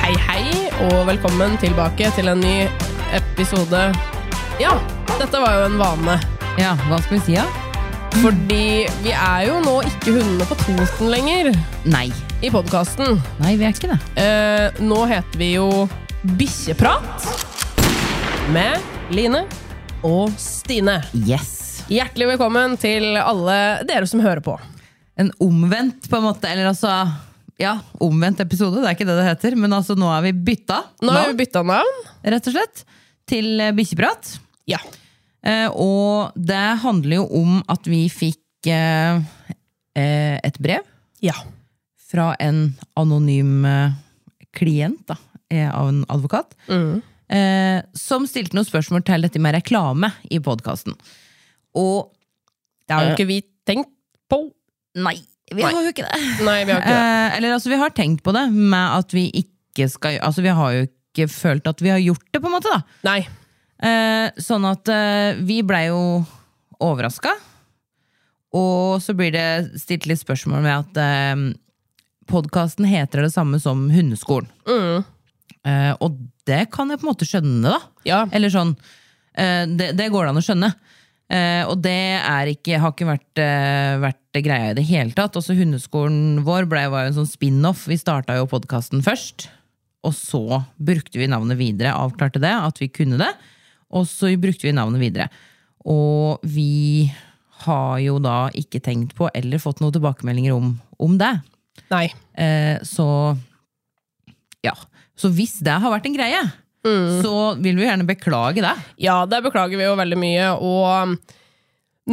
Hei, hei, og velkommen tilbake til en ny episode. Ja, dette var jo en vane. Ja, hva skal vi si, da? Fordi vi er jo nå ikke hundene på Toten lenger Nei. i podkasten. Nei, vi er ikke det. Eh, nå heter vi jo Bikkjeprat med Line og Stine. Yes. Hjertelig velkommen til alle dere som hører på. En omvendt, på en måte. Eller altså Ja, omvendt episode. Det er ikke det det heter. Men altså, nå er vi bytta Nå har vi bytta navn. navn, rett og slett, til eh, bikkjeprat. Ja. Eh, Og det handler jo om at vi fikk eh, eh, et brev ja. fra en anonym eh, klient da, eh, av en advokat, Mm. eh, som stilte noen spørsmål til dette med reklame i podkasten. Og Det har jo ikke vi tenkt på. Nei, vi Eh. Nei. har jo ikke det. Nei, vi har ikke det. Eh, eller altså, vi har tenkt på det med at vi ikke skal Altså, vi har jo ikke følt at vi har gjort det, på en måte, da. Nei. Eh, sånn at eh, vi blei jo overraska. Og så blir det stilt litt spørsmål med at eh, podkasten heter det samme som Hundeskolen. Eh, og det kan jeg på en måte skjønne, da. Ja. Eller sånn. eh, det, det går det an å skjønne. Eh, og det er ikke, har ikke vært, eh, vært greia i det hele tatt. Også hundeskolen vår ble, var jo en sånn spin-off. Vi starta jo podkasten først. Og så brukte vi navnet videre. Avklarte det, at vi kunne det. Og så brukte vi navnet videre. Og vi har jo da ikke tenkt på eller fått noen tilbakemeldinger om, om det. Nei. Eh, så ja. Så hvis det har vært en greie, så vil vi gjerne beklage det. Ja, det beklager vi jo veldig mye. Og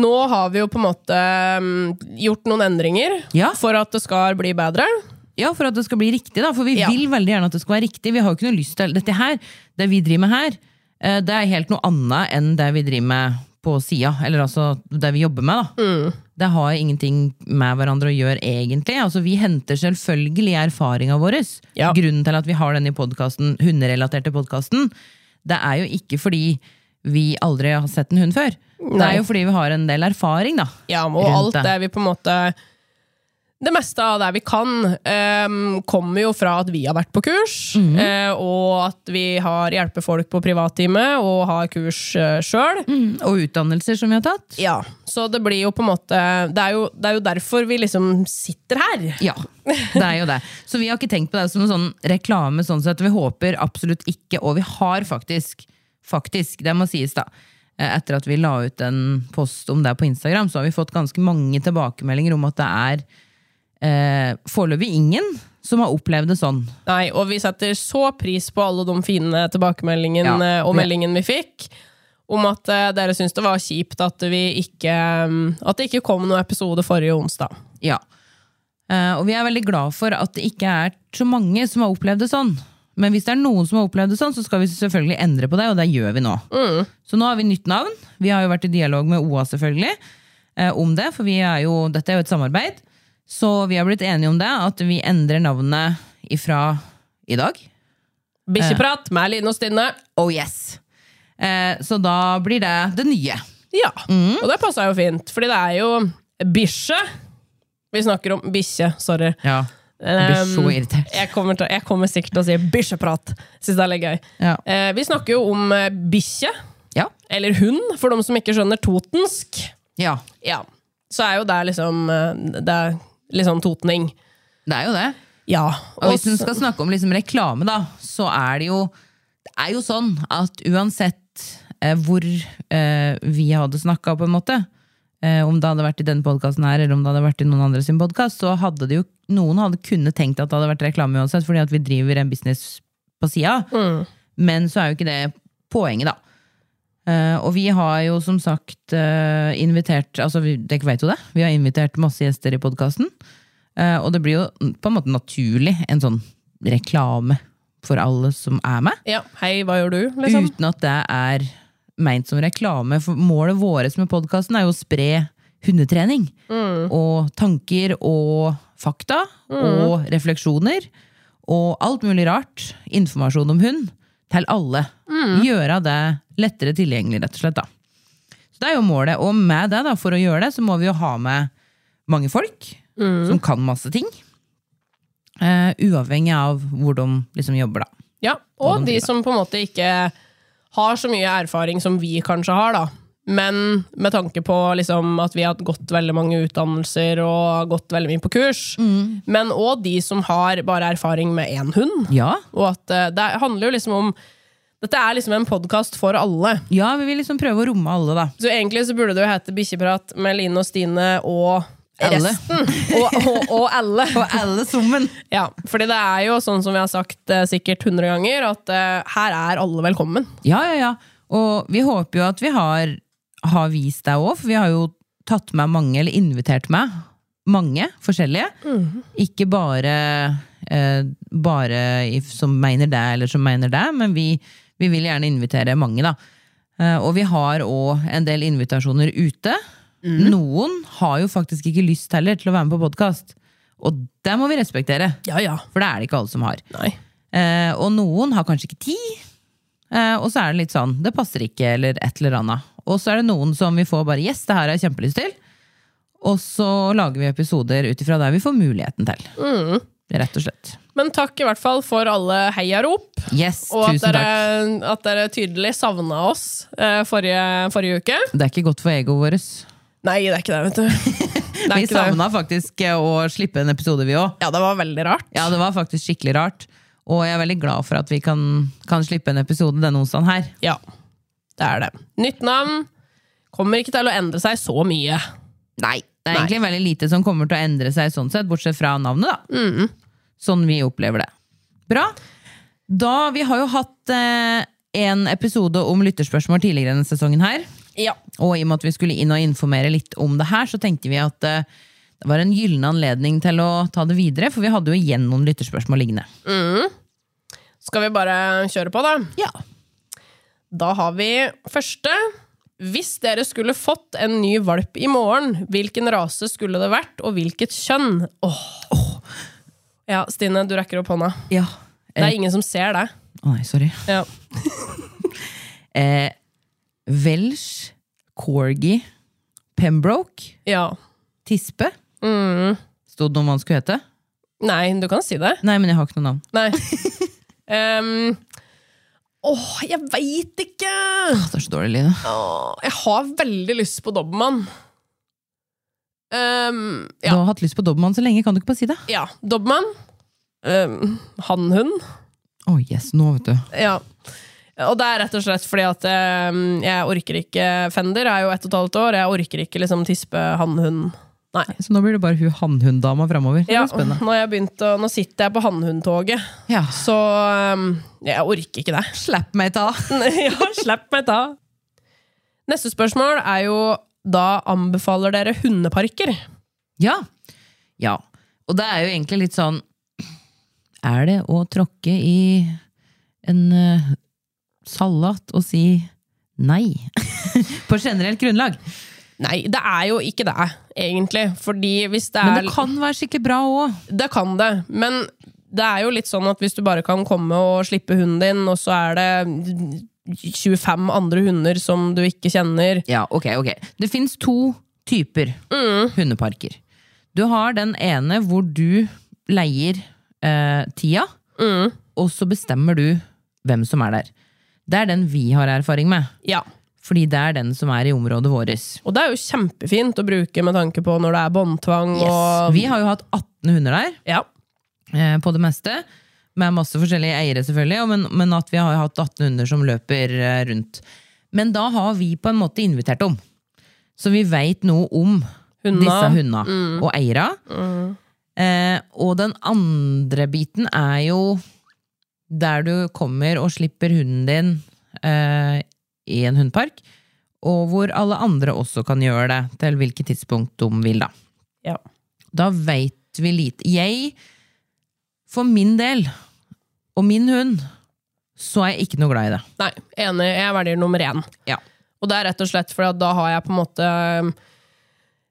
nå har vi jo på en måte mm, gjort noen endringer Ja. for at det skal bli bedre. Ja, For at det skal bli riktig, da. For vi Ja. vil veldig gjerne at det skal være riktig. Vi har jo ikke noe lyst til dette her. Det vi driver med her, eh, det er helt noe annet enn det vi driver med på sida. Eller altså det vi jobber med, da. Mm. Det har ingenting med hverandre å gjøre, egentlig. Altså, vi henter selvfølgelig erfaringa vår. Ja. Grunnen til at vi har denne podcasten, hunderelaterte podkasten, det er jo ikke fordi vi aldri har sett en hund før. Det Nei. er jo fordi vi har en del erfaring, da. Ja, og Rundt alt det. det vi på en måte Det meste av det vi kan, em, kommer jo fra at vi har vært på kurs, Mhm. eh, og at vi har hjelpefolk på privattime og har kurs uh, sjøl. Og utdannelser som vi har tatt. Ja, så det blir jo på en måte det er, jo, det er jo derfor vi liksom sitter her. Ja, det er jo det. Så vi har ikke tenkt på det som en sånn reklame. sånn sett. Vi håper absolutt ikke, og vi har faktisk, faktisk, det må sies da, eh, etter at vi la ut en post om det på Instagram, så har vi fått ganske mange tilbakemeldinger om at det er eh, foreløpig ingen som har opplevd det sånn. Nei, og vi setter så pris på alle de fine tilbakemeldingene Ja. og meldingene vi fikk. Om at eh, dere syntes det var kjipt at, vi ikke, mm, at det ikke kom noen episode forrige onsdag. Ja. Eh, og vi er veldig glad for at det ikke er så mange som har opplevd det sånn. Men hvis det er noen som har opplevd det sånn, så skal vi selvfølgelig endre på det, og det gjør vi nå. Så nå har vi nytt navn. Vi har jo vært i dialog med OA selvfølgelig eh, om det, for vi er jo, dette er jo et samarbeid. Så vi har blitt enige om det, at vi endrer navnet ifra i dag. Bikkjeprat med Line og Stine. Oh yes! Eh, så da blir det det nye. Ja, Mm. Og det passa jo fint, fordi det er jo bikkje. Vi snakker om bikkje, sorry. Um, Ja. Jeg blir så irritert. Jeg kommer, til, jeg kommer sikkert til å si bikkjeprat. Syns det er litt gøy. Ja. Eh, vi snakker jo om eh, bikkje, Ja. eller hund, for de som ikke skjønner totensk. ja. ja, så er jo det liksom eh, Det er litt sånn totning. Det er jo det. Ja. Og hvis så- en skal snakke om liksom reklame, da, så er det jo Det er jo sånn at uansett eh, hvor eh, vi hadde snakka, på en måte, eh, om det hadde vært i denne podkasten her, eller om det hadde vært i noen andre sin podkast, så hadde det jo noen hadde kunne tenkt at det hadde vært reklame uansett, fordi at vi driver en business på sida. Men så er jo ikke det poenget, da. Eh, og vi har jo som sagt eh, invitert altså vi, Dere vet jo det. Vi har invitert masse gjester i podkasten. Eh, og det blir jo på en måte naturlig en sånn reklame for alle som er med. Ja, hei, hva gjør du? Liksom. Uten at det er meint som reklame. For målet vårt med podkasten er jo å spre hundetrening. Og tanker og fakta. Og refleksjoner. Og alt mulig rart. Informasjon om hund til alle. Gjøre det lettere tilgjengelig, rett og slett. da. Så det er jo målet. Og med det, da, for å gjøre det, så må vi jo ha med mange folk som kan masse ting. Eh, uavhengig av hvor de liksom jobber, da. Ja, og de som på en måte ikke har så mye erfaring som vi kanskje har, da. Men med tanke på liksom at vi har hatt gått veldig mange utdannelser og gått veldig mye på kurs. Men òg de som har bare erfaring med én hund. Mm. Ja, Og at eh, det handler jo liksom om Dette er liksom en podkast for alle. Ja, vi vil liksom prøve å romme alle, da. Så egentlig så burde det jo hete Bikkjeprat med Line og Stine og Alle. resten. Og, og, og alle. Og alle sammen. Ja, fordi det er jo sånn som vi har sagt eh, sikkert 100 ganger, at eh, her er alle velkommen. Ja, ja, ja. Og vi håper jo at vi har, har vist deg òg, for vi har jo tatt med mange, eller invitert med mange forskjellige. Ikke bare, eh, bare i- som mener det, eller som mener det, men vi, vi vil gjerne invitere mange, da. Eh, og vi har òg en del invitasjoner ute. Mhm. Noen har jo faktisk ikke lyst heller til å være med på podkast. Og det må vi respektere, Ja, ja. for det er det ikke alle som har. Nei. Eh, og noen har kanskje ikke tid. Eh, og så er det litt sånn, det passer ikke, eller et eller annet. Og så er det noen som vi får bare yes, det her har jeg kjempelyst til. Og så lager vi episoder ut ifra der vi får muligheten til. Mm. Rett og slett. Men takk i hvert fall for alle heiarop, Yes, og at tusen dere, takk. at dere tydelig savna oss eh, forrige, forrige uke. Det er ikke godt for egoet vårt. Nei, det er ikke det, vet du. Det er Vi ikke det. savna faktisk eh, å slippe en episode, vi òg. Ja, det var veldig rart. Ja, det var faktisk skikkelig rart. Og jeg er veldig glad for at vi kan, kan slippe en episode denne onsdagen her. Ja, det er det. Nytt navn kommer ikke til å endre seg så mye. Nei. Det er egentlig veldig lite som kommer til å endre seg, sånn sett, bortsett fra navnet. da. Sånn vi opplever det. Bra. Da, Vi har jo hatt eh, en episode om lytterspørsmål tidligere denne sesongen. her, Ja. Og i og med at vi skulle inn og informere litt om det her, så tenkte vi at eh, det var en gyllen anledning til å ta det videre, for vi hadde jo igjen noen lytterspørsmål liggende. Skal vi bare kjøre på, da? Ja. Da har vi første. Hvis dere skulle fått en ny valp i morgen, hvilken rase skulle det vært, og hvilket kjønn? Åh. Ja, Stine, du rekker opp hånda. ja. Det Eh, er ingen som ser deg. Å nei, sorry. Ja. Eh, Welsh, Corgi, Pembroke, ja. Mm. Tispe. Stod det noe man skulle hete? Nei, du kan si det. Nei, men jeg har ikke noe navn. Nei. Em, åh, jeg veit ikke! Åh, Det er så dårlig lyd. da. Åh, jeg har veldig lyst på Dobbeltmann. Um, Du ja, har hatt lyst på dobbeltmann så lenge, kan du ikke bare si det? ja Dobbeltmann. Um, Hannhund. Å, yes, nå vet du. Ja. Og det er rett og slett fordi at eh, jeg orker ikke Fender. Jeg er jo ett og et halvt år. Jeg orker ikke liksom tispe hannhund. Nei. Så nå blir det bare hun hannhunddama framover. Ja, Det blir spennende. nå, har jeg begynt å, nå sitter jeg på hannhundtoget, Ja. så eh, jeg orker ikke det. Slapp meg ta. ja, slipp meg ta. Neste spørsmål er jo da anbefaler dere hundeparker? Ja. ja. Og det er jo egentlig litt sånn Er det å tråkke i en eh, salat og si nei? På generelt grunnlag. Nei, det er jo ikke det, egentlig. Fordi hvis det er Men det kan være skikkelig bra òg. Det kan det, men det er jo litt sånn at hvis du bare kan komme og slippe hunden din, og så er det 25 andre hunder som du ikke kjenner Ja, ok, ok. Det finnes to typer hundeparker. Du har den ene hvor du leier eh, tida, og så bestemmer du hvem som er der. Det er den vi har erfaring med, Ja. fordi det er den som er i området våres. Og det er jo kjempefint å bruke med tanke på når det er båndtvang og Vi har jo hatt 18 hunder der, Ja. eh, på det meste. Med masse forskjellige eiere, selvfølgelig, og men, men at vi har hatt 18 hunder som løper eh, rundt. Men da har vi på en måte invitert dem. Så vi veit noe om Hundene. disse hundene og eierne. Eh, og den andre biten er jo der du kommer og slipper hunden din eh, i en hundepark, og hvor alle andre også kan gjøre det til hvilket tidspunkt de vil, da. Ja. Da veit vi lite. Jeg, for min del, og min hund, så er jeg ikke noe glad i det. Nei, enig. Jeg verdier nummer én. Ja. Og det er rett og slett fordi at da har jeg på en måte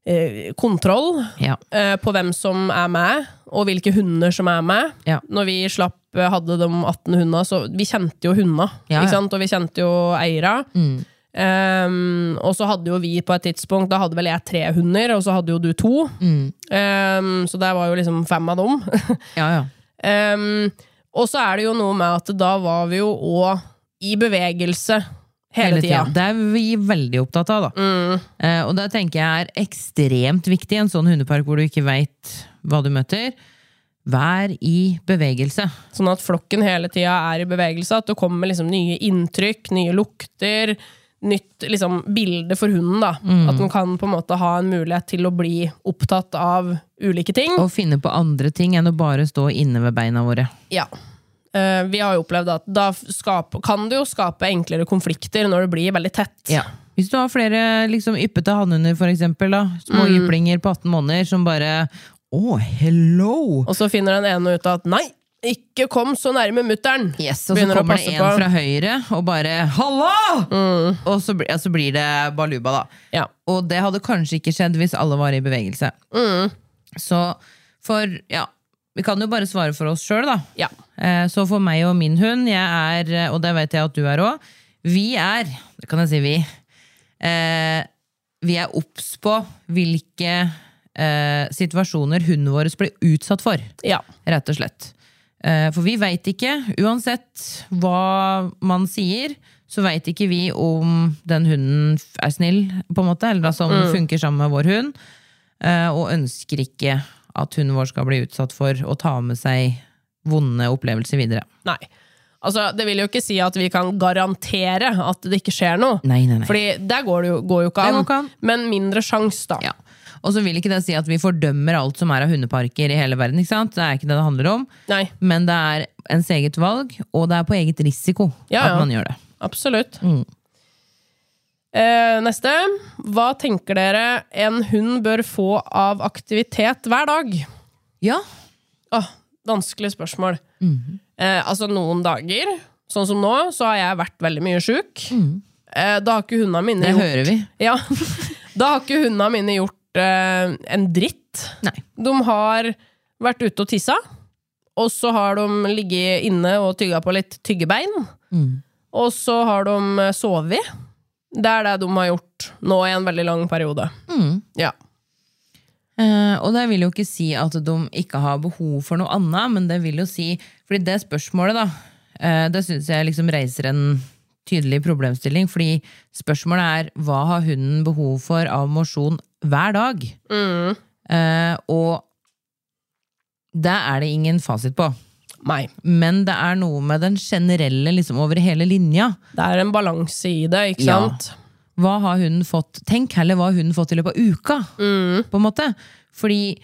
eh, kontroll Ja. eh, på hvem som er med, og hvilke hunder som er med. Ja. Når vi slapp, eh, hadde de 18 hundene, så vi kjente jo hundene, Ja, ja. Mm. ikke sant? og vi kjente jo eiere. Ehm, og så hadde jo vi på et tidspunkt, da hadde vel jeg tre hunder, og så hadde jo du to. Mm. Ehm, så der var jo liksom fem av dem. Ja, ja. Ehm, og så er det jo noe med at da var vi jo òg i bevegelse hele, Hele tida. tiden. Det er vi veldig opptatt av, da. Eh, og det tenker jeg er ekstremt viktig i en sånn hundepark hvor du ikke veit hva du møter. Vær i bevegelse. Sånn at flokken hele tida er i bevegelse, at det kommer liksom nye inntrykk, nye lukter, nytt liksom, bilde for hunden. da. At den kan på en måte ha en mulighet til å bli opptatt av ulike ting. Og finne på andre ting enn å bare stå inne ved beina våre. Ja. Eh, vi har jo opplevd at da skap, kan det jo skape enklere konflikter når det blir veldig tett. Hvis du har flere liksom, yppete hannhunder, for eksempel, da, små jyplinger på 18 måneder som bare Å, hello! Og så finner den ene ut at nei, ikke kom så nærme mutter'n! Yes, og så kommer det en fra høyre og bare 'halla!' Og så, blir- ja, så blir det baluba, da. Ja. Og det hadde kanskje ikke skjedd hvis alle var i bevegelse. Så for Ja, vi kan jo bare svare for oss sjøl, da. Ja. Eh, Så for meg og min hund, jeg er, og det vet jeg at du er òg, vi er Det kan jeg si vi. eh, Vi er obs på hvilke eh, situasjoner hunden vår blir utsatt for, ja. rett og slett. Eh, For vi veit ikke, uansett hva man sier, så veit ikke vi om den hunden f- er snill, på en måte, eller altså om den funker sammen med vår hund. eh, Og ønsker ikke at hunden vår skal bli utsatt for å ta med seg vonde opplevelser videre. Nei. Altså, det vil jo ikke si at vi kan garantere at det ikke skjer noe. Nei, nei, nei. Fordi der går det jo, går jo ikke Det an. går ikke an. Men mindre sjanse, da. Ja. Og så vil ikke det si at vi fordømmer alt som er av hundeparker i hele verden. ikke sant? Det er ikke det det handler om. Nei, Men det er ens eget valg, og det er på eget risiko Ja, ja. at man gjør det. absolutt. Mm. Eh, neste. Hva tenker dere en hund bør få av aktivitet hver dag? Ja, Åh, vanskelig spørsmål. Mhm. eh, altså, noen dager, sånn som nå, så har jeg vært veldig mye sjuk. Eh, da har ikke hundene mine Mm. det gjort hører vi. Ja. Da har ikke hundene mine gjort eh, en dritt. Nei. De har vært ute og tissa, og så har de ligget inne og tygga på litt tyggebein. Mm. Og så har de eh, sovet. Det er det de har gjort nå i en veldig lang periode. Mm. Ja. Eh, og det vil jo ikke si at de ikke har behov for noe annet, men det vil jo si Fordi det spørsmålet, da, eh, det syns jeg liksom reiser en tydelig problemstilling. Fordi spørsmålet er hva har hunden behov for av mosjon hver dag? Eh, og det er det ingen fasit på. Nei. Men det er noe med den generelle liksom over hele linja. Det er en balanse i det, ikke Ja. sant? Hva har hunden fått? Tenk heller hva har hunden fått i løpet av uka. På en måte. Fordi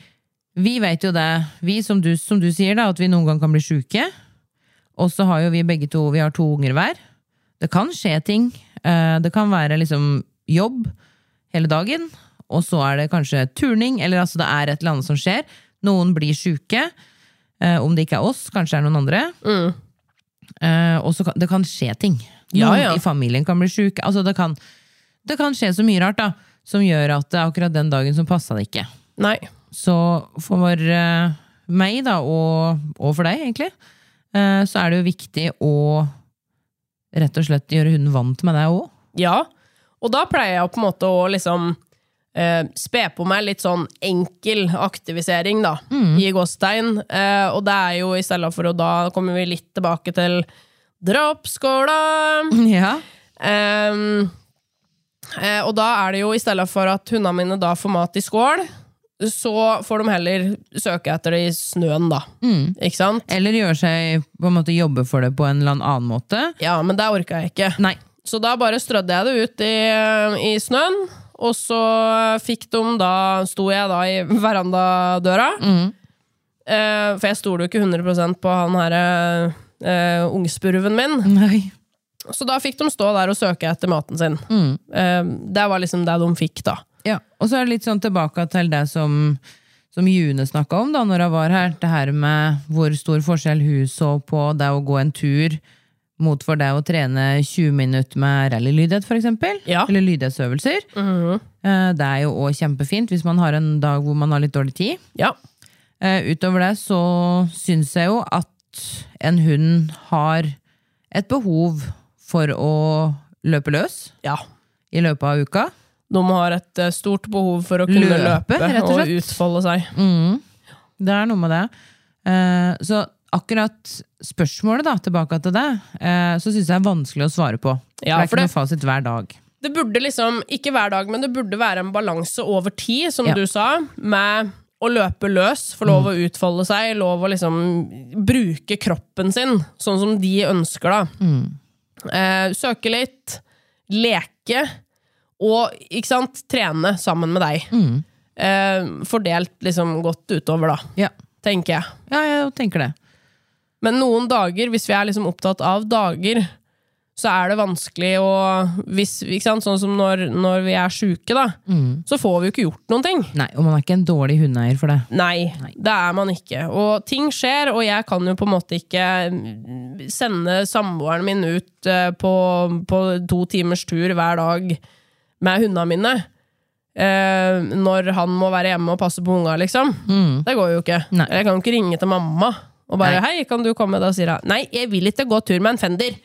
vi vet jo det, vi som du, som du sier, da, at vi noen gang kan bli sjuke. Og så har jo vi begge to vi har to unger hver. Det kan skje ting. Eh, Det kan være liksom jobb hele dagen, og så er det kanskje turning, eller altså det er et eller annet som skjer. Noen blir sjuke. eh, Om det ikke er oss, kanskje det er noen andre. Mm. Eh, Og så kan det kan skje ting. Ja, Noen ja. i familien kan bli sjuke. Altså det kan, det kan skje så mye rart da, som gjør at det er akkurat den dagen som passa det ikke. Nei. Så for eh, meg, da, og, og for deg, egentlig, eh, så er det jo viktig å rett og slett gjøre hunden vant med deg òg. Ja. Og da pleier jeg på en måte å liksom eh, spe på meg litt sånn enkel aktivisering, da, i gåstein. Eh, og det er jo i stedet for å da kommer vi litt tilbake til dra opp skåla! Ja. Ehm, eh, og da er det jo i stedet for at hundene mine da får mat i skål, så får de heller søke etter det i snøen, da. Ikke sant? Eller gjøre seg på en måte jobbe for det på en eller annen måte. Ja, men det orka jeg ikke. Nei. Så da bare strødde jeg det ut i, i snøen, Og så fikk de da Sto jeg da i verandadøra. Mm. Eh, for jeg stoler jo ikke 100 på han herre eh, ungspurven min. Nei. Så da fikk de stå der og søke etter maten sin. Mm. Eh, det var liksom det de fikk, da. Ja, og så er det litt sånn tilbake til det som, som June snakka om da når hun var her. Det her med hvor stor forskjell hun så på det å gå en tur mot for deg å trene 20 minutter med rallylydhet, f.eks. Ja. Eller lydighetsøvelser. Eh, Det er jo òg kjempefint hvis man har en dag hvor man har litt dårlig tid. Ja. Eh, Utover det så syns jeg jo at en hund har et behov for å løpe løs ja. i løpet av uka. De har et eh, stort behov for å kunne Løpe, løpe, rett og og, slett. utfolde seg. Det er noe med det. Eh, så akkurat spørsmålet da, tilbake til det, eh, så syns jeg er vanskelig å svare på. Ja, det er for ikke det- noe fasit hver dag. Det burde liksom, ikke hver dag, men det burde være en balanse over tid, som Ja. Mm. du sa, med å løpe løs, få lov å utfolde seg, lov å liksom bruke kroppen sin, sånn som de ønsker, da. Mm. Eh, søke litt, leke, og ikke sant, trene sammen med deg. Eh, fordelt liksom godt utover, da, Mm. Ja, tenker jeg. ja jeg tenker det. Men noen dager, hvis vi er liksom opptatt av dager, så er det vanskelig å hvis, ikke sant? Sånn som når, når vi er sjuke, da. Så får vi jo ikke gjort noen ting. Nei, Og man er ikke en dårlig hundeeier for det. Nei, det er man ikke. Og ting skjer, og jeg kan jo på en måte ikke mm, sende samboeren min ut eh, på, på to timers tur hver dag med hundene mine. Eh, når han må være hjemme og passe på unga, liksom. Det går jo ikke. Nei. Jeg kan jo ikke ringe til mamma og bare 'Hei, kan du komme?' Da sier hun 'Nei, jeg vil ikke gå tur med en Fender'.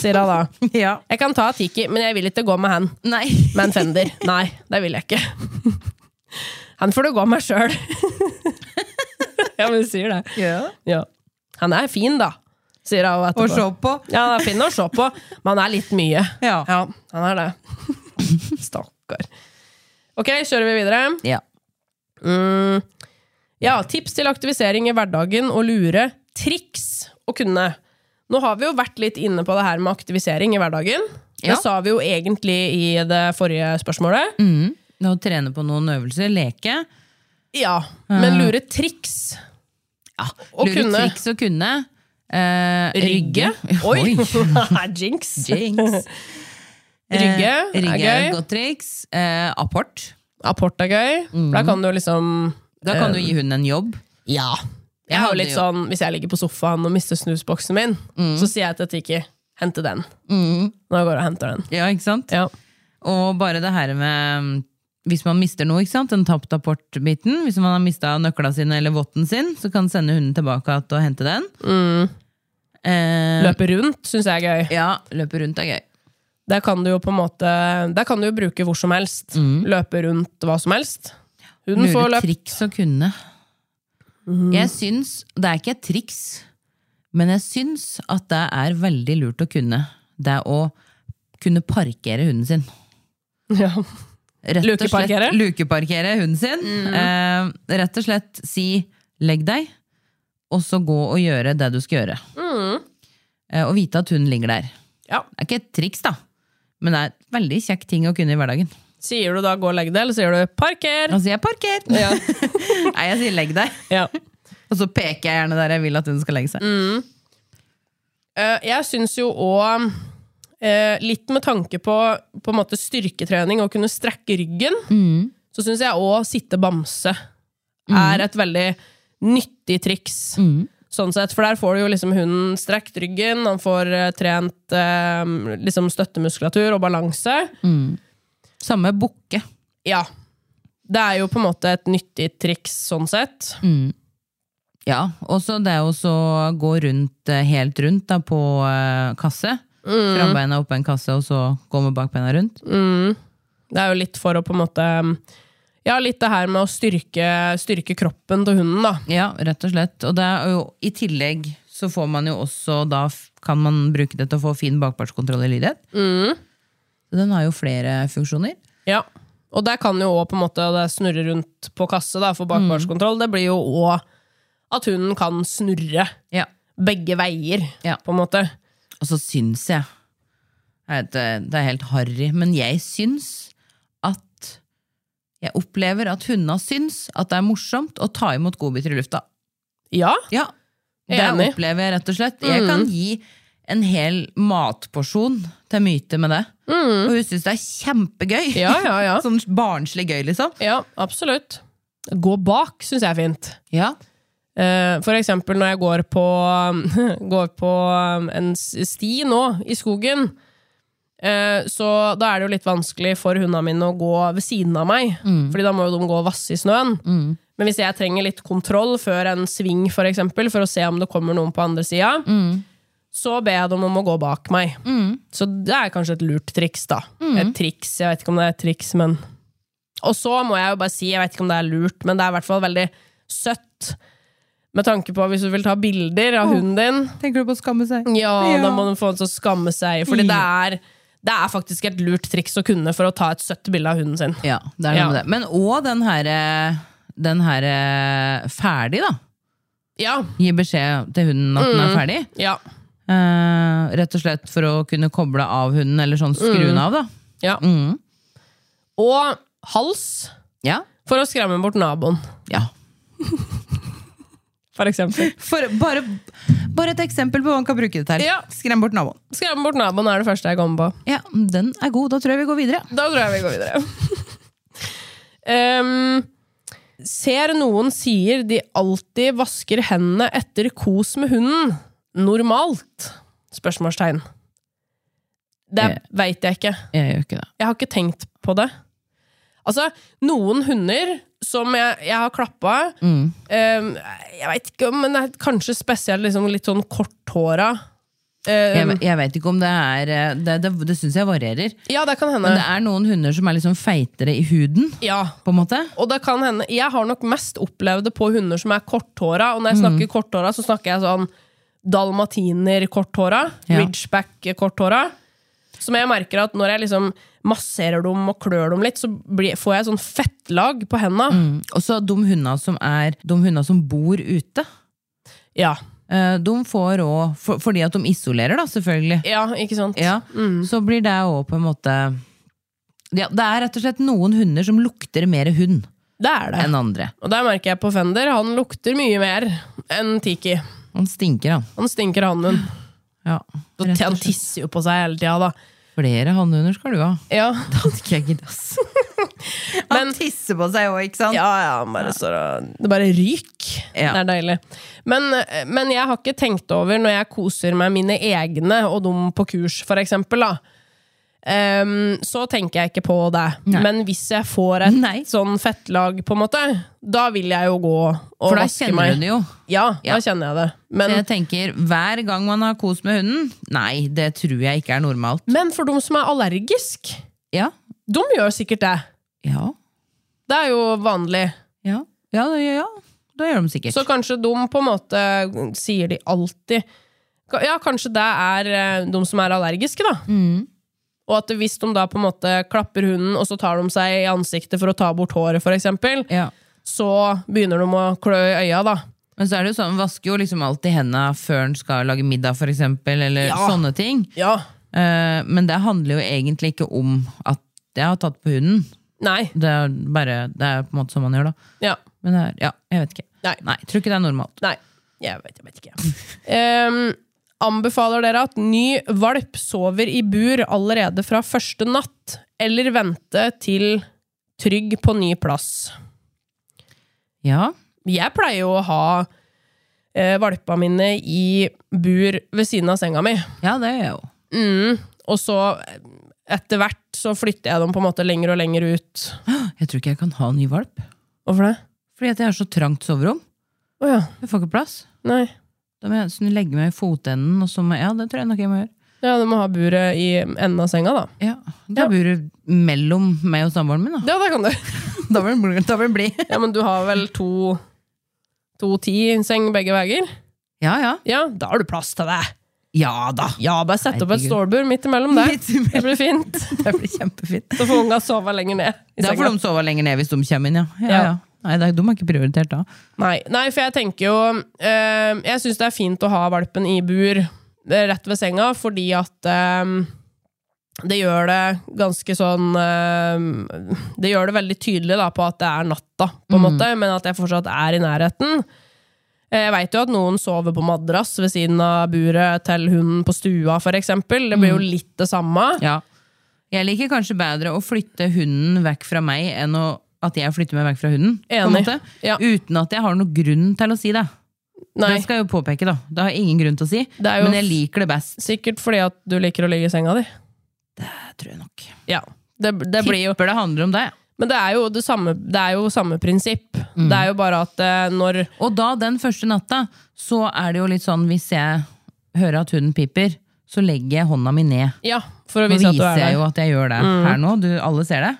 Sier hun da. Ja. 'Jeg kan ta Tiki, men jeg vil ikke gå med han Nei. med en Fender'. Nei, det vil jeg ikke. Han får det gå med sjøl. ja, men hun sier det. Ja. Han er fin, da, sier hun etterpå. Å se på. Ja, han er fin å se på, men han er litt mye. Ja. ja han er det. Stakkar. Ok, kjører vi videre. Ja. Mm. Ja, tips til aktivisering i hverdagen og lure triks å kunne. Nå har vi jo vært litt inne på det her med aktivisering i hverdagen. Ja. Det sa vi jo egentlig i det forrige spørsmålet. Det Å trene på noen øvelser, leke. Ja, men lure triks. Ja, Å Lure kunne. triks å kunne. Eh, Rygge. Oi! Jinx. Jinx. Rygge Eh, er rygge er et gøy. godt triks. Eh, apport. Apport er gøy. For da kan du liksom Da kan du gi hunden en jobb. Ja. Jeg har jo hadde litt jo- sånn, Hvis jeg ligger på sofaen og mister snusboksen min, så sier jeg til Tiki 'hente den'. Når jeg går og henter den. Ja, ikke sant? Ja. Og bare det her med mm, hvis man mister noe, ikke sant? den tapt apport-biten Hvis man har mista nøkla sine eller votten sin, så kan sende hunden tilbake igjen og hente den. Eh, Løpe rundt syns jeg er gøy. Ja, løpe rundt er gøy. Der kan du jo på en måte Der kan du jo bruke hvor som helst. Løpe rundt hva som helst. Hunden får Lure løpt. triks å kunne. Jeg syns Det er ikke et triks, men jeg syns at det er veldig lurt å kunne. Det å kunne parkere hunden sin. Ja. rett og Lukeparkere? slett lukeparkere hunden sin. Eh, rett og slett si 'legg deg', og så gå og gjøre det du skal gjøre. Eh, og vite at hunden ligger der. ja. Det er ikke et triks, da, men det er et veldig kjekk ting å kunne i hverdagen. Sier du da 'gå og legg deg', eller sier du 'parker'? Altså, jeg parker! Nei, jeg sier 'legg deg', Ja. og så peker jeg gjerne der jeg vil at hun skal legge seg. Eh, jeg syns jo òg Litt med tanke på, på en måte styrketrening og kunne strekke ryggen, så syns jeg òg sitte bamse er et veldig nyttig triks. Mm. Sånn sett, For der får du jo liksom hunden strekt ryggen, han får eh, trent eh, liksom støttemuskulatur og balanse. Mm. Samme bukke. Ja. Det er jo på en måte et nyttig triks, sånn sett. Mm. Ja, og så det å så gå rundt, eh, helt rundt da, på eh, kasse. Frambeina oppå en kasse, og så gå med bakbeina rundt. Mm. Det er jo litt for å på en måte Ja, litt det her med å styrke, styrke kroppen til hunden, da. Ja, rett og slett. Og det er jo, i tillegg så får man jo også da f- kan man bruke det til å få fin bakpartskontroll i lydighet. Så den har jo flere funksjoner. Ja. Og der kan jo òg på en måte det snurre rundt på kasse da, for bakvarskontroll. Det blir jo òg at hunden kan snurre Ja. begge veier, Ja. på en måte. Og så syns jeg jeg vet, Det det er helt harry, men jeg syns at Jeg opplever at hundene syns at det er morsomt å ta imot godbiter i lufta. Ja, Ja, det Enig. opplever jeg Mm. rett og slett. Jeg kan gi en hel matporsjon til Myte med det. Og hun syns det er kjempegøy. Ja, ja, ja. sånn barnslig gøy, liksom. ja absolutt. Gå bak syns jeg er fint. Ja. Eh, For eksempel når jeg går på, går på um, en s- sti nå i skogen, eh, så da er det jo litt vanskelig for hundene mine å gå ved siden av meg, fordi da må jo de gå og vasse i snøen. Men hvis jeg trenger litt kontroll før en sving for, eksempel, for å se om det kommer noen på andre sida, så ber jeg dem om å gå bak meg. Så det er kanskje et lurt triks, da. Et triks, jeg vet ikke om det er et triks, men Og så må jeg jo bare si, jeg vet ikke om det er lurt, men det er i hvert fall veldig søtt. Med tanke på hvis du vil ta bilder av hunden din, Tenker du på å skamme seg? ja, Mm. da må de få den til å skamme seg. Fordi det er, det er faktisk et lurt triks å kunne for å ta et søtt bilde av hunden sin. Ja, det er noe Ja. med det. Men òg den her, eh, den her eh, ferdig, da. Ja, Gi beskjed til hunden at den er ferdig. ja, Eh, rett og slett for å kunne koble av hunden, eller sånn skru den av, da. ja. Mm. Og hals Ja. for å skremme bort naboen, ja. for eksempel. For, bare, bare et eksempel på hva man kan bruke det til. Ja. Skrem bort naboen. Skremme bort naboen er det første jeg kommer på. Ja, den er god. Da tror jeg vi går videre. Da tror jeg vi går videre. Em, ser noen sier de alltid vasker hendene etter kos med hunden. Normalt? Spørsmålstegn. Det Eh. veit jeg ikke. Jeg gjør ikke det. Jeg har ikke tenkt på det. Altså, noen hunder som jeg, jeg har klappa Mm. em, Jeg veit ikke, men det er kanskje spesielt liksom, litt sånn korthåra. Eh, Em, Jeg, jeg vet ikke om det er eh, Det, det, det syns jeg varierer. ja, det kan hende. Men det er noen hunder som er liksom feitere i huden, ja, på en måte. Og det kan hende, Jeg har nok mest opplevd det på hunder som er korthåra. Og når jeg Mm. snakker korthåra, så snakker jeg sånn dalmatiner-korthåra. Ja. Ridgeback-korthåra. Som jeg merker at når jeg liksom masserer dem og klør dem litt, så blir, får jeg sånn fettlag på henda. Og så de hundene som er De hundene som bor ute. Ja. eh, De får òg for, Fordi at de isolerer, da, selvfølgelig. ja, ikke sant? Ja, Så blir det òg på en måte ja, Det er rett og slett noen hunder som lukter mer hund Det er det. enn andre. Og der merker jeg på Fender, han lukter mye mer enn Tiki. Han stinker, han. Han stinker hannhund. Ja, rett og Han slett. tisser jo på seg hele tida, da. Flere hannhunder skal du ha. Ja. Det hadde ikke jeg giddet, ass. Men- tisser på seg òg, ikke sant? Ja, ja, han bare står og Det bare ryk. Ja. Det er deilig. Men, men jeg har ikke tenkt over, når jeg koser meg mine egne og dem på kurs, for eksempel, da. ehm, så tenker jeg ikke på det. Nei. Men hvis jeg får et Nei. sånn fettlag, på en måte, da vil jeg jo gå og For da vaske kjenner meg. du det jo. Ja, Ja. da kjenner jeg det. Så Men, jeg tenker, hver gang man har kos med hunden Nei, det tror jeg ikke er normalt. men for dem som er allergisk, Ja, de gjør sikkert det. ja, Det er jo vanlig. ja. Ja, da, ja, ja. da gjør de sikkert. Så kanskje de på en måte sier de alltid Ka- Ja, kanskje det er eh, de som er allergiske, da. Og at hvis de da på en måte klapper hunden, og så tar de seg i ansiktet for å ta bort håret, for eksempel, ja. så begynner de å klø i øya, da. Men så er det jo sånn, man vasker jo liksom alltid hendene før en skal lage middag, for eksempel, eller Ja. sånne ting. Ja. Eh, men det handler jo egentlig ikke om at jeg har tatt på hunden. Nei. Det er bare, det er på en måte sånn man gjør, da. Ja. Men det er, ja, jeg vet ikke. Nei. Nei, tror ikke det er normalt. Nei. Jeg vet, jeg vet ikke. Em, anbefaler dere at ny valp sover i bur allerede fra første natt, eller vente til trygg på ny plass? Ja, Jeg pleier jo å ha eh, valpa mine i bur ved siden av senga mi. ja det gjør jeg jo. Mm. Og så eh, etter hvert så flytter jeg dem på en måte lenger og lenger ut. Jeg tror ikke jeg kan ha en ny valp. Hvorfor det? Fordi at jeg har så trangt soverom. Å ja. Jeg får ikke plass. Nei. Da må jeg sånn, legge meg i fotenden, og så må Ja, det tror jeg nok jeg må gjøre. Ja, du må ha buret i enden av senga, da. Ja, Da Ja. bor du mellom meg og samboeren min, da. Ja, det kan du. Da blir den blid. Da blir den blid. Ja, men du har vel to To ti i en seng begge veier? Ja, ja. Ja, da har du plass til det. Ja da! Ja, bare sett opp et Herregud. stålbur midt imellom der. Midt imellom. Det blir fint. Det blir kjempefint. Så får unga sove lenger ned. i Det er senga. for de sover lenger ned hvis de kommer inn, ja. ja, Ja. ja. Nei, det er- de er ikke prioritert da. Nei, nei, for jeg tenker jo eh, Jeg syns det er fint å ha valpen i bur eh, rett ved senga, fordi at eh, det gjør det ganske sånn eh, Det gjør det veldig tydelig da, på at det er natta, på en måte, men at jeg fortsatt er i nærheten. Eh, Jeg veit jo at noen sover på madrass ved siden av buret til hunden på stua, f.eks. Det blir jo litt Mm. det samme. Ja. Jeg liker kanskje bedre å flytte hunden vekk fra meg enn å, at jeg flytter meg vekk fra hunden. på en Enig. måte. Ja. Uten at jeg har noen grunn til å si det. Nei, Det skal jeg jo påpeke, da. Det har jeg ingen grunn til å si. Det er jo- Men jeg liker det best. Sikkert fordi at du liker å ligge i senga di. Det tror jeg nok. Ja. Det, det blir jo Tipper det handler om det. Men det er jo det samme, det er jo samme prinsipp. Mm. Det er jo bare at eh, når Og da, den første natta, så er det jo litt sånn hvis jeg hører at hunden piper, så legger jeg hånda mi ned. Ja, for å Nå vise at du viser jeg er der. Mm. jo at jeg gjør det her nå. Du, alle ser det.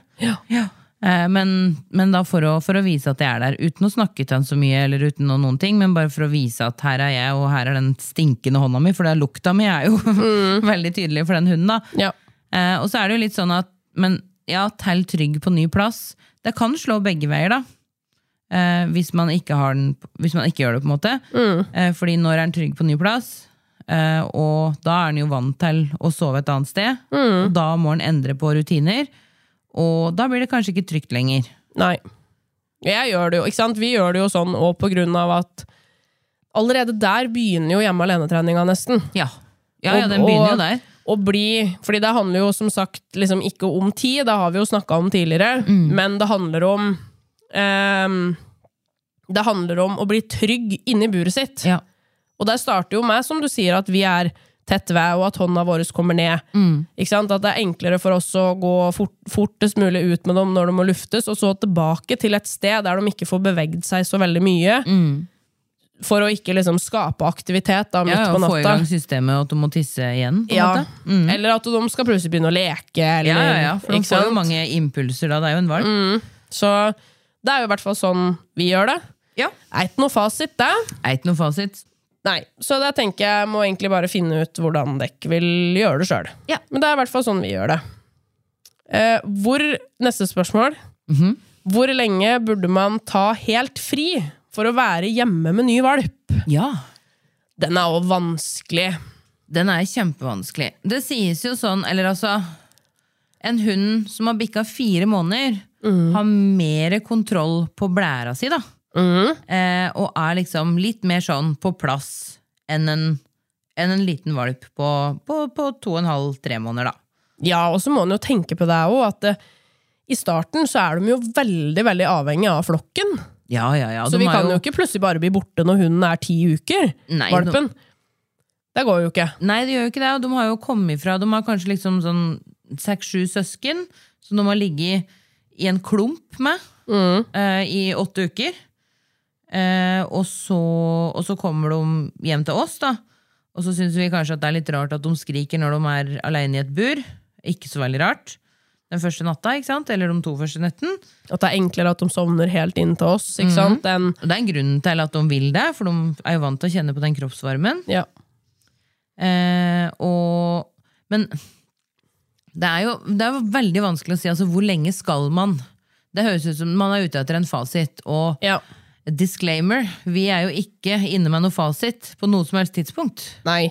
Eh, Men, men da for å, for å vise at jeg er der, uten å snakke til han så mye, eller uten noen, noen ting, men bare for å vise at her er jeg, og her er den stinkende hånda mi, for det er lukta mi er jo Mm. veldig tydelig for den hunden. da. Ja. Eh, og så er det jo litt sånn at Men ja, tell trygg på ny plass. Det kan slå begge veier, da. Eh, hvis, man ikke har den, hvis man ikke gjør det, på en måte. Mm. Eh, fordi når er den trygg på ny plass? Eh, og da er den jo vant til å sove et annet sted. Mm. Og da må den endre på rutiner. Og da blir det kanskje ikke trygt lenger. Nei. Jeg gjør det jo, ikke sant? Vi gjør det jo sånn, og på grunn av at Allerede der begynner jo hjemme alene-treninga, nesten. Ja, ja, ja Og- den begynner og- jo der. Å bli Fordi det handler jo som sagt liksom ikke om tid, det har vi jo snakka om tidligere, Mm. men det handler om ehm, Det handler om å bli trygg inni buret sitt. Ja. Og der starter jo med, som du sier, at vi er tett ved, og at hånda vår kommer ned. Mm. Ikke sant? At det er enklere for oss å gå fort, fortest mulig ut med dem når de må luftes, og så tilbake til et sted der de ikke får bevegd seg så veldig mye. Mm. For å ikke liksom skape aktivitet da, midt Ja, på og få i natta. gang systemet, og at du må tisse igjen. på en Ja. måte. Mm. Eller at de skal plutselig begynne å leke. Eller, Ja, ja, ja, for de ikke får sant? Mm. jo mange impulser da. Det er jo en valp. Så det er jo i hvert fall sånn vi gjør det. Ja. Er ikke noe fasit, det. Er ikke noe fasit. Nei, Så da tenker jeg må egentlig bare finne ut hvordan dere vil gjøre det sjøl. Ja. Men det er i hvert fall sånn vi gjør det. Eh, hvor, neste spørsmål. Mhm. Hvor lenge burde man ta helt fri for å være hjemme med ny valp? Ja, Den er jo vanskelig. Den er kjempevanskelig. Det sies jo sånn, eller altså En hund som har bikka fire måneder, har mer kontroll på blæra si, da. Eh, og er liksom litt mer sånn på plass enn en, enn en liten valp på, på, på to og en halv, tre måneder, da. Ja, og så må en jo tenke på det òg, at eh, i starten så er de jo veldig veldig avhengig av flokken. Ja, ja, ja. Så de vi har kan jo ikke plutselig bare bli borte når hunden er ti uker. Nei, valpen. Det går jo ikke. Nei, de gjør jo ikke det. Og de har jo kommet fra De har kanskje liksom sånn seks-sju søsken som de har ligget i en klump med eh, i åtte uker. Eh, og, så, og så kommer de hjem til oss, da. Og så syns vi kanskje at det er litt rart at de skriker når de er aleine i et bur. Ikke så veldig rart. Den første natta, ikke sant? Eller de to første netten. At det er enklere at de sovner helt inn til oss. ikke sant? Enn, Og det er en grunn til at de vil det, for de er jo vant til å kjenne på den kroppsvarmen. ja. Eh, og, men det er jo det er jo veldig vanskelig å si altså, hvor lenge skal man. Det høres ut som man er ute etter en fasit. Og ja. disclaimer, vi er jo ikke inne med noe fasit på noe som helst tidspunkt. Nei.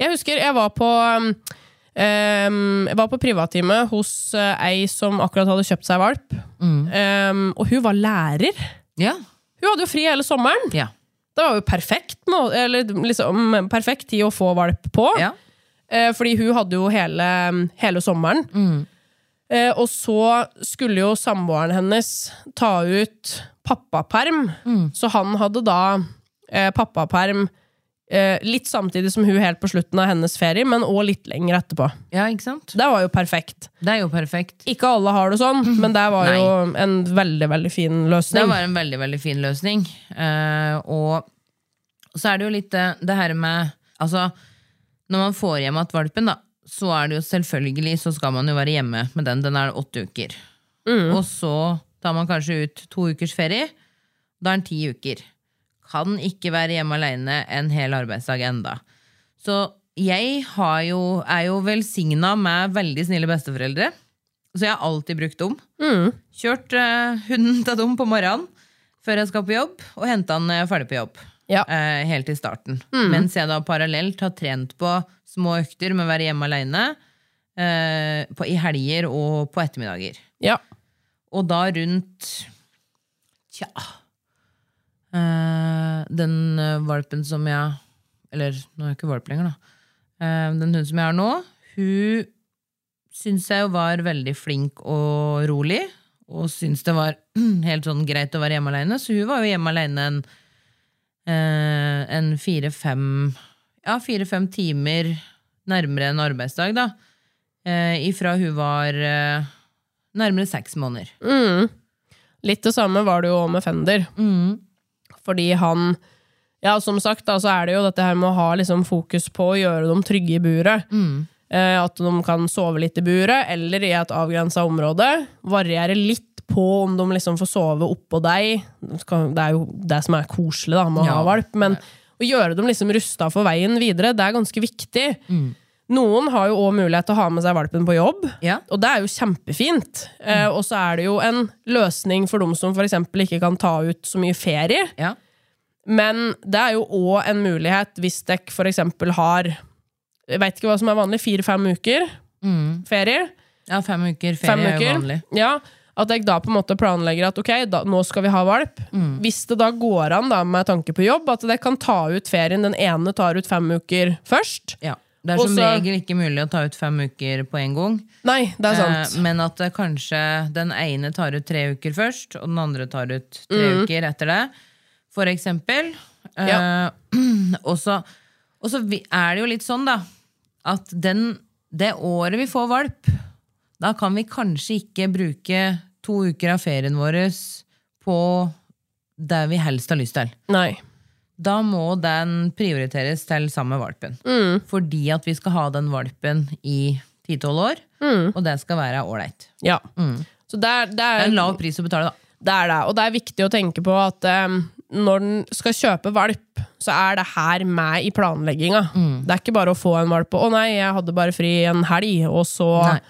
Jeg husker jeg var på um, um, Jeg var på privattime hos uh, ei som akkurat hadde kjøpt seg valp. Mm. Um, og hun var lærer. Ja. Hun hadde jo fri hele sommeren. Ja. Det var jo perfekt, må- eller, liksom, perfekt tid å få valp på. ja. Eh, Fordi hun hadde jo hele, hele sommeren. Eh, og så skulle jo samboeren hennes ta ut pappaperm. Så han hadde da eh, pappaperm eh, litt samtidig som hun helt på slutten av hennes ferie, men òg litt lenger etterpå. Ja, ikke sant? Det var jo perfekt. Det er jo perfekt. Ikke alle har det sånn, men det var Mhm. Nei. jo en veldig, veldig fin Det løsning. var en veldig, veldig fin løsning. Eh, og så er det jo litt det, det her med Altså, når man får hjem igjen valpen, da, så er det jo selvfølgelig Så skal man jo være hjemme med den. Den er åtte uker. Og så tar man kanskje ut to ukers ferie. Da er den ti uker. Kan ikke være hjemme aleine en hel arbeidsdag enda. Så jeg har jo, er jo velsigna med veldig snille besteforeldre. Så jeg har alltid brukt dem. Kjørt eh, hunden til dem på morgenen før jeg skal på jobb, og henta han når jeg er ferdig på jobb. Ja. Eh, helt i starten. Mens jeg da parallelt har trent på små økter med å være hjemme aleine. eh, på, i helger og på ettermiddager. Ja. Og da rundt Tja eh, Den eh, valpen som jeg Eller nå er jeg ikke valp lenger, da. Eh, den hunden som jeg har nå, hun syns jeg jo var veldig flink og rolig. Og syns det var helt sånn greit å være hjemme aleine, så hun var jo hjemme aleine en, eh, en fire-fem ja, fire-fem timer nærmere en arbeidsdag, da. Eh, ifra hun var eh, nærmere seks måneder. Litt det samme var det jo med Fender. Fordi han Ja, som sagt, da, så er det jo dette her med å ha liksom, fokus på å gjøre dem trygge i buret. Eh, at de kan sove litt i buret, eller i et avgrensa område. Variere litt på om de liksom får sove oppå deg. De skal- Det er jo det som er koselig da, med å ha Ja. valp. Men å gjøre dem liksom rusta for veien videre, det er ganske viktig. Mm. Noen har jo òg mulighet til å ha med seg valpen på jobb. Ja. Mm. Og det er jo kjempefint. Eh, og så er det jo en løsning for dem som f.eks. ikke kan ta ut så mye ferie. Ja. Men det er jo òg en mulighet hvis dere f.eks. har jeg vet ikke hva som er vanlig, fire-fem uker ferie. ja, fem uker Mm. ferie Fem er jo uker. vanlig. Ja, at dere da på en måte planlegger at ok, da, nå skal vi ha valp. Mm. Hvis det da går an da med tanke på jobb, at dere kan ta ut ferien. Den ene tar ut fem uker først. Ja. Det er som Også- regel ikke mulig å ta ut fem uker på en gang. Nei, det er sant. Eh, men at det kanskje den ene tar ut tre uker først, og den andre tar ut tre Mm. uker etter det, for eksempel. Eh, og så og så vi- er det jo litt sånn, da, at den, det året vi får valp, da kan vi kanskje ikke bruke to uker av ferien vår på det vi helst har lyst til Nei. da må den prioriteres til sammen med valpen. Fordi at vi skal ha den valpen i 10-12 år, og det skal være ålreit. Ja. Så det er, det Det er er Mm. en lav pris å betale, da. Det er det, og det er viktig å tenke på at em, når den skal kjøpe valp, så er det her med i planlegginga. Mm. Det er ikke bare å få en valp og 'å nei, jeg hadde bare fri en helg', og så, Nei.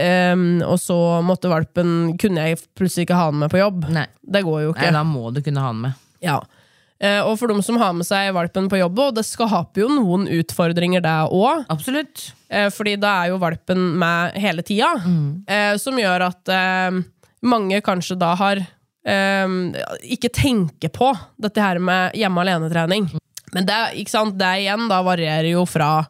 em, og så måtte valpen Kunne jeg plutselig ikke ha den med på jobb? Nei. Det går jo Nei, ikke. da må du kunne ha den med. Ja. Eh, og for dem som har med seg valpen på jobb, og det skaper jo noen utfordringer, det òg. Absolutt. Eh, Fordi da er jo valpen med hele tida, Mm. eh, som gjør at eh, mange kanskje da har eh, ikke tenker på dette her med hjemme alene-trening. Men det, ikke sant? det igjen da varierer jo fra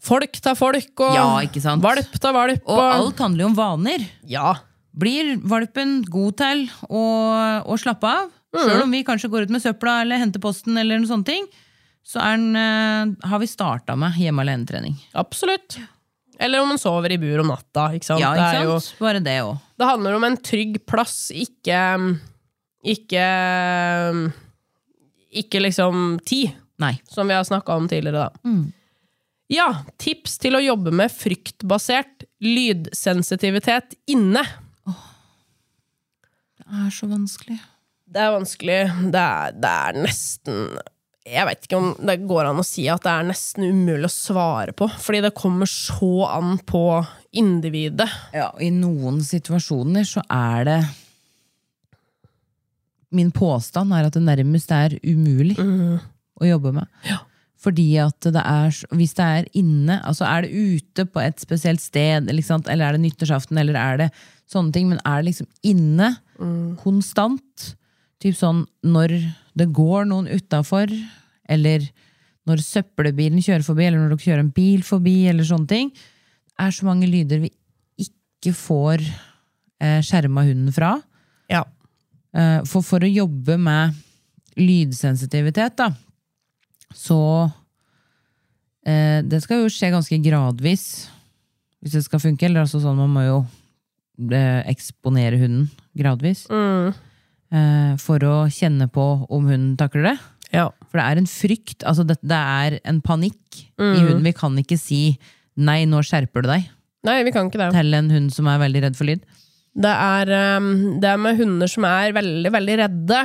folk til folk, og Ja, ikke sant. valp til valp. Og alt handler jo om vaner. Ja, Blir valpen god til å, å slappe av? Selv om vi kanskje går ut med søpla eller henter posten, eller noen sånne ting, så er den, eh, har vi starta med hjemme alene-trening. absolutt. Eller om en sover i bur om natta. Ikke sant? Ja, Det er jo- ikke sant? Bare det òg. Det handler om en trygg plass, ikke Ikke Ikke liksom tid, Nei. som vi har snakka om tidligere, da. Ja, tips til å jobbe med fryktbasert lydsensitivitet inne. Det er så vanskelig. Det er vanskelig. Det er, det er nesten Jeg vet ikke om det går an å si at det er nesten umulig å svare på, fordi det kommer så an på individet. Ja, i noen situasjoner så er det Min påstand er at det nærmest er umulig å jobbe med. Fordi at det er s- Hvis det er inne, altså er det ute på et spesielt sted, eller, ikke sant? eller er det nyttårsaften, eller er det sånne ting, men er det liksom inne konstant? Typ sånn når det går noen utafor, eller når søppelbilen kjører forbi, eller når dere kjører en bil forbi, eller sånne ting. Det er så mange lyder vi ikke får eh, skjerma hunden fra. Ja. Eh, for for å jobbe med lydsensitivitet, da, så eh, Det skal jo skje ganske gradvis hvis det skal funke. Eller altså sånn, man må jo eh, eksponere hunden gradvis. Eh, for å kjenne på om hunden takler det. Ja. For det er en frykt. Altså det, det er en panikk i hunden. Vi kan ikke si 'nei, nå skjerper du deg' Nei, vi kan ikke det. til en hund som er veldig redd for lyd. Det er, ehm, det er med hunder som er veldig, veldig redde.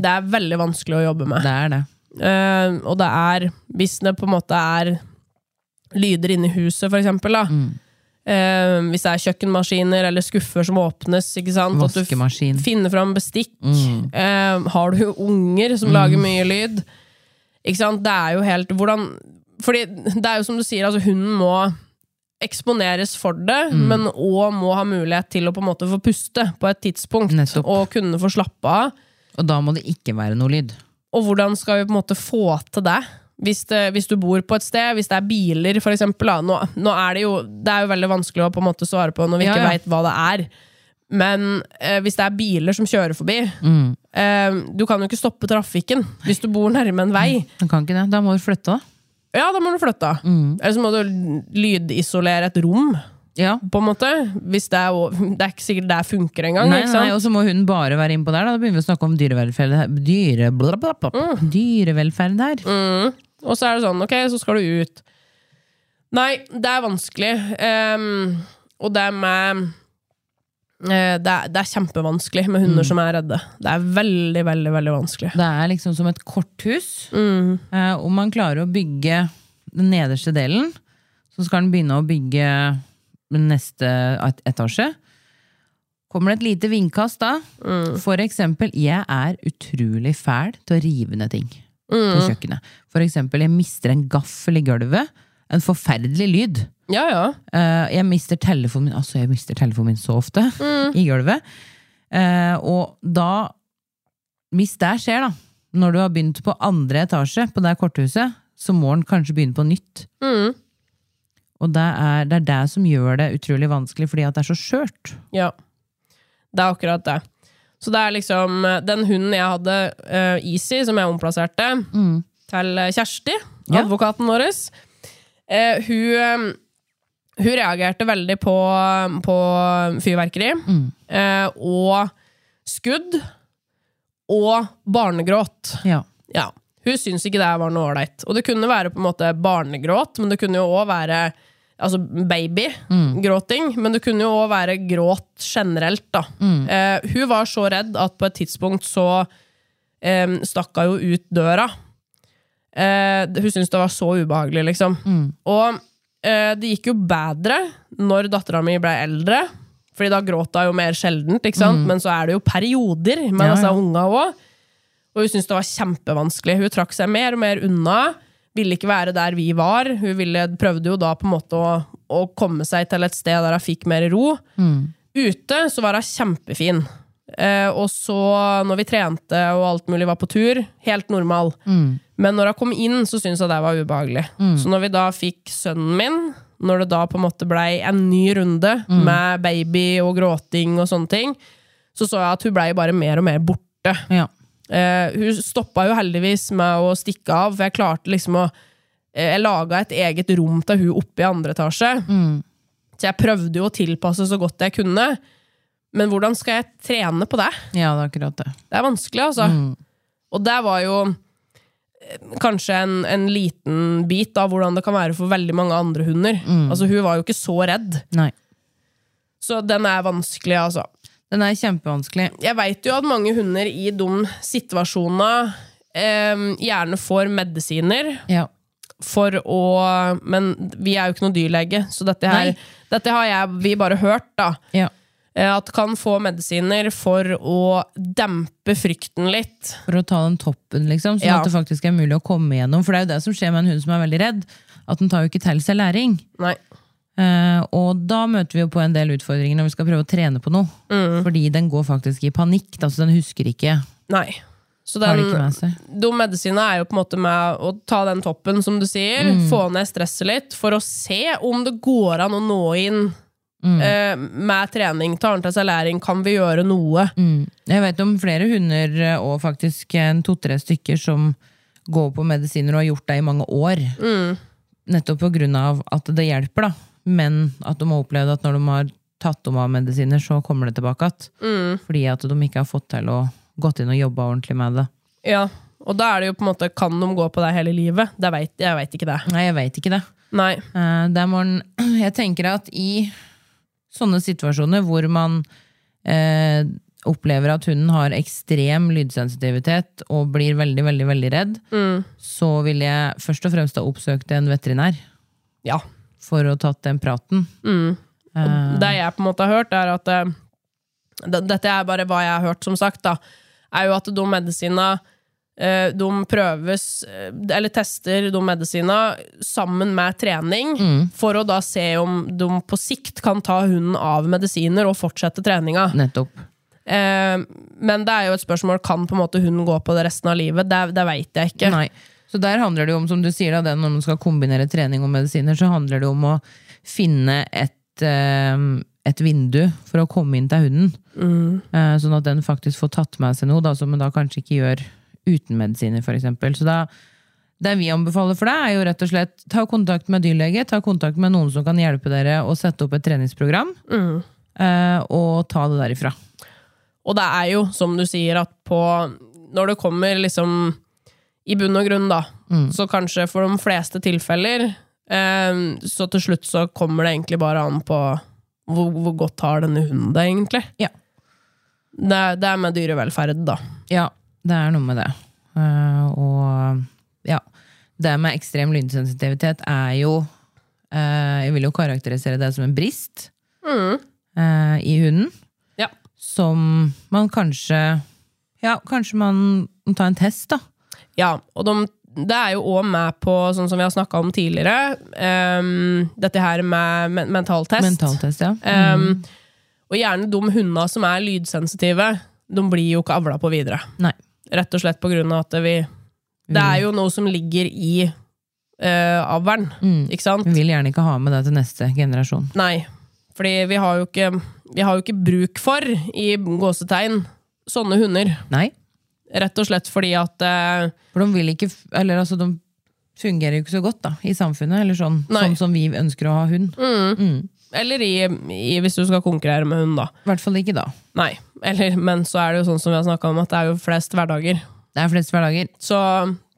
Det er veldig vanskelig å jobbe med. Det er det. Eh, og det er, hvis det på en måte er lyder inne i huset, for eksempel, da. Mm. Eh, hvis det er kjøkkenmaskiner eller skuffer som åpnes, ikke sant? At du f- Vaskemaskin. Mm. finner fram bestikk. Eh, har du unger som lager mye lyd? Ikke sant? Det er jo helt hvordan Fordi det er jo som du sier, altså hunden må eksponeres for det, Mm. men òg må ha mulighet til å på en måte få puste på et tidspunkt. Nettopp. Og kunne få slappe av. Og da må det ikke være noe lyd. Og hvordan skal vi på en måte få til det? Hvis, det, hvis du bor på et sted, hvis det er biler for eksempel, da. Nå, nå er det, jo, det er jo veldig vanskelig å på en måte svare på når vi Ja, ikke ja. vet hva det er. Men eh, hvis det er biler som kjører forbi Mm. eh, Du kan jo ikke stoppe trafikken hvis du bor nærme en vei. Du kan ikke det. Da må du flytte, da. Ja, da må du flytte. Mm. Eller så må du lydisolere et rom, Ja. på en måte. Hvis det, er, jo- det er ikke sikkert det funker engang. Nei, ikke sant? nei, og så må hun bare være innpå der. Da Da begynner vi å snakke om dyrevelferd her. Dyre, bla, bla, bla, bla. Dyrevelferd her. Og så er det sånn, ok, så skal du ut. Nei, det er vanskelig. Ehm, og det med eh, det, er, det er kjempevanskelig med hunder som er redde. Det er veldig, veldig veldig vanskelig. Mm. Det er liksom som et korthus. Eh, om man klarer å bygge den nederste delen, så skal den begynne å bygge neste et- etasje. Kommer det et lite vindkast da? For eksempel, jeg er utrolig fæl til å rive ned ting på kjøkkenet. For eksempel, jeg mister en gaffel i gulvet. En forferdelig lyd. Ja, ja. Eh, jeg mister telefonen min Altså, jeg mister telefonen min så ofte i gulvet. Eh, og da Hvis det skjer, da, når du har begynt på andre etasje på det korthuset, så må den kanskje begynne på nytt. Mm. Og det er, det er det som gjør det utrolig vanskelig, fordi at det er så skjørt. Ja. Det er akkurat det. Så det er liksom eh, Den hunden jeg hadde, eh, Easy, som jeg omplasserte til eh, Kjersti, Ja. advokaten vår, eh, hun, eh, hun reagerte veldig på, på fyrverkeri eh, og skudd og barnegråt. Ja. Ja. Hun syntes ikke det var noe ålreit. Og det kunne være på en måte barnegråt, men det kunne jo òg være altså Mm. babygråting. Men det kunne jo òg være gråt generelt, da. Mm. Eh, hun var så redd at på et tidspunkt så eh, stakk hun jo ut døra. Eh, hun syntes det var så ubehagelig, liksom. Mm. Og eh, det gikk jo bedre når dattera mi ble eldre. Fordi da gråt hun jo mer sjeldent, ikke sant? men så er det jo perioder med Mm. Ja, disse ja. unga òg. Og hun syntes det var kjempevanskelig. Hun trakk seg mer og mer unna. Ville ikke være der vi var. Hun ville, prøvde jo da på en måte å, å komme seg til et sted der hun fikk mer ro. Ute så var hun kjempefin. Eh, og så, når vi trente og alt mulig var på tur, helt normal. Men når hun kom inn, så syntes hun det var ubehagelig. Så når vi da fikk sønnen min, når det da på en måte blei en ny runde med baby og gråting og sånne ting, så så jeg at hun blei bare mer og mer borte. Ja. Eh, hun stoppa jo heldigvis med å stikke av, for jeg klarte liksom å eh, Jeg laga et eget rom til hun oppe i andre etasje. Så jeg prøvde jo å tilpasse så godt jeg kunne. Men hvordan skal jeg trene på det? ja, det er akkurat det. Det er vanskelig, altså. Og det var jo eh, kanskje en, en liten bit av hvordan det kan være for veldig mange andre hunder. Altså, hun var jo ikke så redd. Nei. Så den er vanskelig, altså. Den er kjempevanskelig. Jeg veit jo at mange hunder i de situasjonene eh, gjerne får medisiner Ja. for å Men vi er jo ikke noen dyrlege, så dette, her, Nei. dette har jeg, vi bare hørt, da. ja. Eh, At kan få medisiner for å dempe frykten litt. For å ta den toppen, liksom, sånn Ja. at det faktisk er mulig å komme gjennom. For det er jo det som skjer med en hund som er veldig redd. At den tar jo ikke til seg læring. Nei. Eh, og da møter vi jo på en del utfordringer når vi skal prøve å trene på noe. Fordi den går faktisk i panikk. da, så den husker ikke. Nei. Så Har det ikke den, med seg. de medisinene er jo på en måte med å ta den toppen, som du sier, Mm. få ned stresset litt, for å se om det går an å nå inn Mm. eh, med trening. Tar han til seg læring? Kan vi gjøre noe? Mm. Jeg vet om flere hunder eh, og faktisk en to-tre stykker som går på medisiner og har gjort det i mange år. Nettopp på grunn av at det hjelper, da. Men at de har opplevd at når de har tatt om av medisiner, så kommer det tilbake igjen. Fordi at de ikke har fått til å gått inn og jobba ordentlig med det. Ja. Og da er det jo på en måte Kan de gå på det hele livet? Det vet, jeg veit ikke det. Nei, jeg veit ikke det. Nei. Eh, Der må den Jeg tenker at i sånne situasjoner hvor man eh, opplever at hunden har ekstrem lydsensitivitet og blir veldig, veldig, veldig redd, så ville jeg først og fremst ha oppsøkt en veterinær Ja. for å tatt den praten. Og det jeg på en måte har hørt, er at eh, d- Dette er bare hva jeg har hørt, som sagt, da. Er jo at de medisinene eh, de prøves, eh, eller tester de medisina sammen med trening, for å da se om de på sikt kan ta hunden av medisiner og fortsette treninga. Nettopp. Eh, men det er jo et spørsmål kan på en måte hun gå på det resten av livet. Det, det veit jeg ikke. Nei. Så der handler det jo om, som du sier, da, det når man skal kombinere trening og medisiner, så handler det om å finne et, eh, et vindu for å komme inn til hunden. Eh, Sånn at den faktisk får tatt med seg noe, da, som den da kanskje ikke gjør uten medisiner, f.eks. Så da, det vi anbefaler for deg, er jo rett og slett ta kontakt med dyrlege, ta kontakt med noen som kan hjelpe dere å sette opp et treningsprogram, eh, og ta det derifra. Og det er jo, som du sier, at på Når det kommer liksom I bunn og grunn, da, så kanskje for de fleste tilfeller eh, Så til slutt så kommer det egentlig bare an på hvor, hvor godt har denne hunden det, egentlig. Ja. Det, er- det er med dyrevelferd, da. Ja, det er noe med det. Eh, og ja, det med ekstrem lydsensitivitet er jo eh, Jeg vil jo karakterisere det som en brist eh, i hunden. Ja. Som man kanskje Ja, kanskje man må ta en test, da. Ja, og de, det er jo òg med på, sånn som vi har snakka om tidligere, ehm, dette her med men mentaltest. Mentaltest, ja. Ehm, Og gjerne de hundene som er lydsensitive, de blir jo ikke avla på videre. Nei. Rett og slett på grunn av at vi Det er jo noe som ligger i uh, avlen, ikke sant? Vi vil gjerne ikke ha med det til neste generasjon. Nei. Fordi vi har jo ikke, vi har jo ikke bruk for, i gåsetegn, sånne hunder. Nei. Rett og slett fordi at eh, For de vil ikke f- Eller altså, de fungerer jo ikke så godt da, i samfunnet, eller sånn, Nei. sånn som vi ønsker å ha hund. Eller i, i, hvis du skal konkurrere med hund, da. I hvert fall ikke da. Nei. Eller, men så er det jo sånn som vi har snakka om, at det er jo flest hverdager. Det er flest hverdager. Så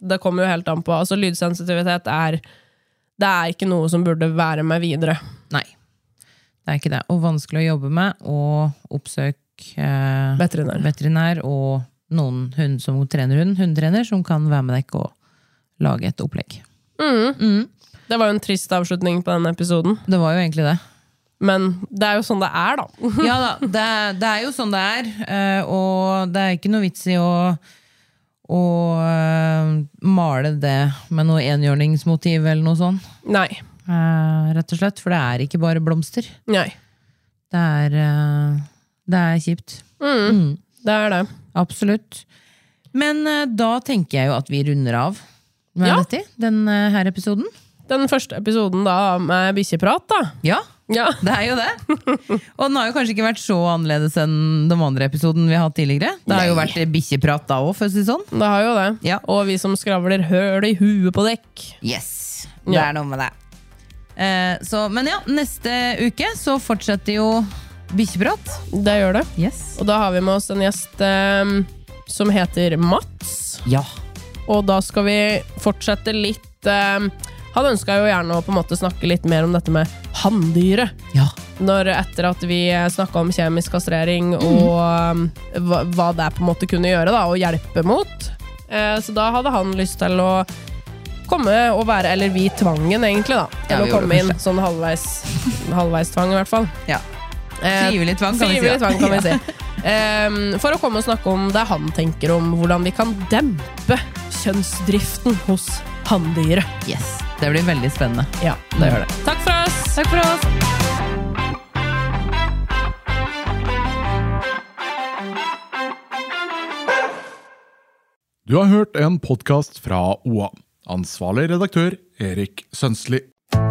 det kommer jo helt an på. Altså, lydsensitivitet er Det er ikke noe som burde være med videre. Nei. Det er ikke det. Og vanskelig å jobbe med. Og oppsøk eh, Veterinær. veterinær og noen hund som trener hund, hundetrener, som kan være med deg og lage et opplegg. Det var jo en trist avslutning på den episoden, Det var jo egentlig det. men det er jo sånn det er, da. Ja da, det, det er jo sånn det er. eh, Og det er ikke noe vits i å, å eh, male det med noe enhjørningsmotiv eller noe sånt. Nei. eh, Rett og slett. For det er ikke bare blomster. Nei. Det er, eh, det er kjipt. Det er det. Absolutt. Men eh, da tenker jeg jo at vi runder av med Ja. dette, den eh, her episoden. Den første episoden da med bikkjeprat, da. Ja, Ja. det er jo det. Og den har jo kanskje ikke vært så annerledes enn de andre episoden vi har hatt tidligere. Det har jo vært bikkjeprat da òg, for å si det sånn. Det har jo det. Ja. Og vi som skravler høl i huet på dekk. Yes, det Ja. er noe med det. Eh, så, men ja, neste uke så fortsetter jo bikkjeprat. Det gjør det. Yes. Og da har vi med oss en gjest eh, som heter Mats. Ja. Og da skal vi fortsette litt eh, Han ønska jo gjerne å på en måte snakke litt mer om dette med hanndyret. ja. Når etter at vi snakka om kjemisk kastrering Mm. og eh, hva, hva det på en måte kunne gjøre, da, og hjelpe mot. Eh, så da hadde han lyst til å komme og være Eller vi tvangen, egentlig, da. Ja, Til vi å gjorde komme det inn kanskje. sånn halvveis, halvveis tvang, i hvert fall. ja. Eh, Frivillig tvang, kan vi si, frivillig da. Tvang, kan vi si. Ehm, for å komme og snakke om det han tenker om hvordan vi kan dempe kjønnsdriften hos hanndyret. Yes. Det blir veldig spennende. Ja, det gjør det. Takk for oss! Takk for oss. Du har hørt en podkast fra OA. Ansvarlig redaktør Erik Sønsli.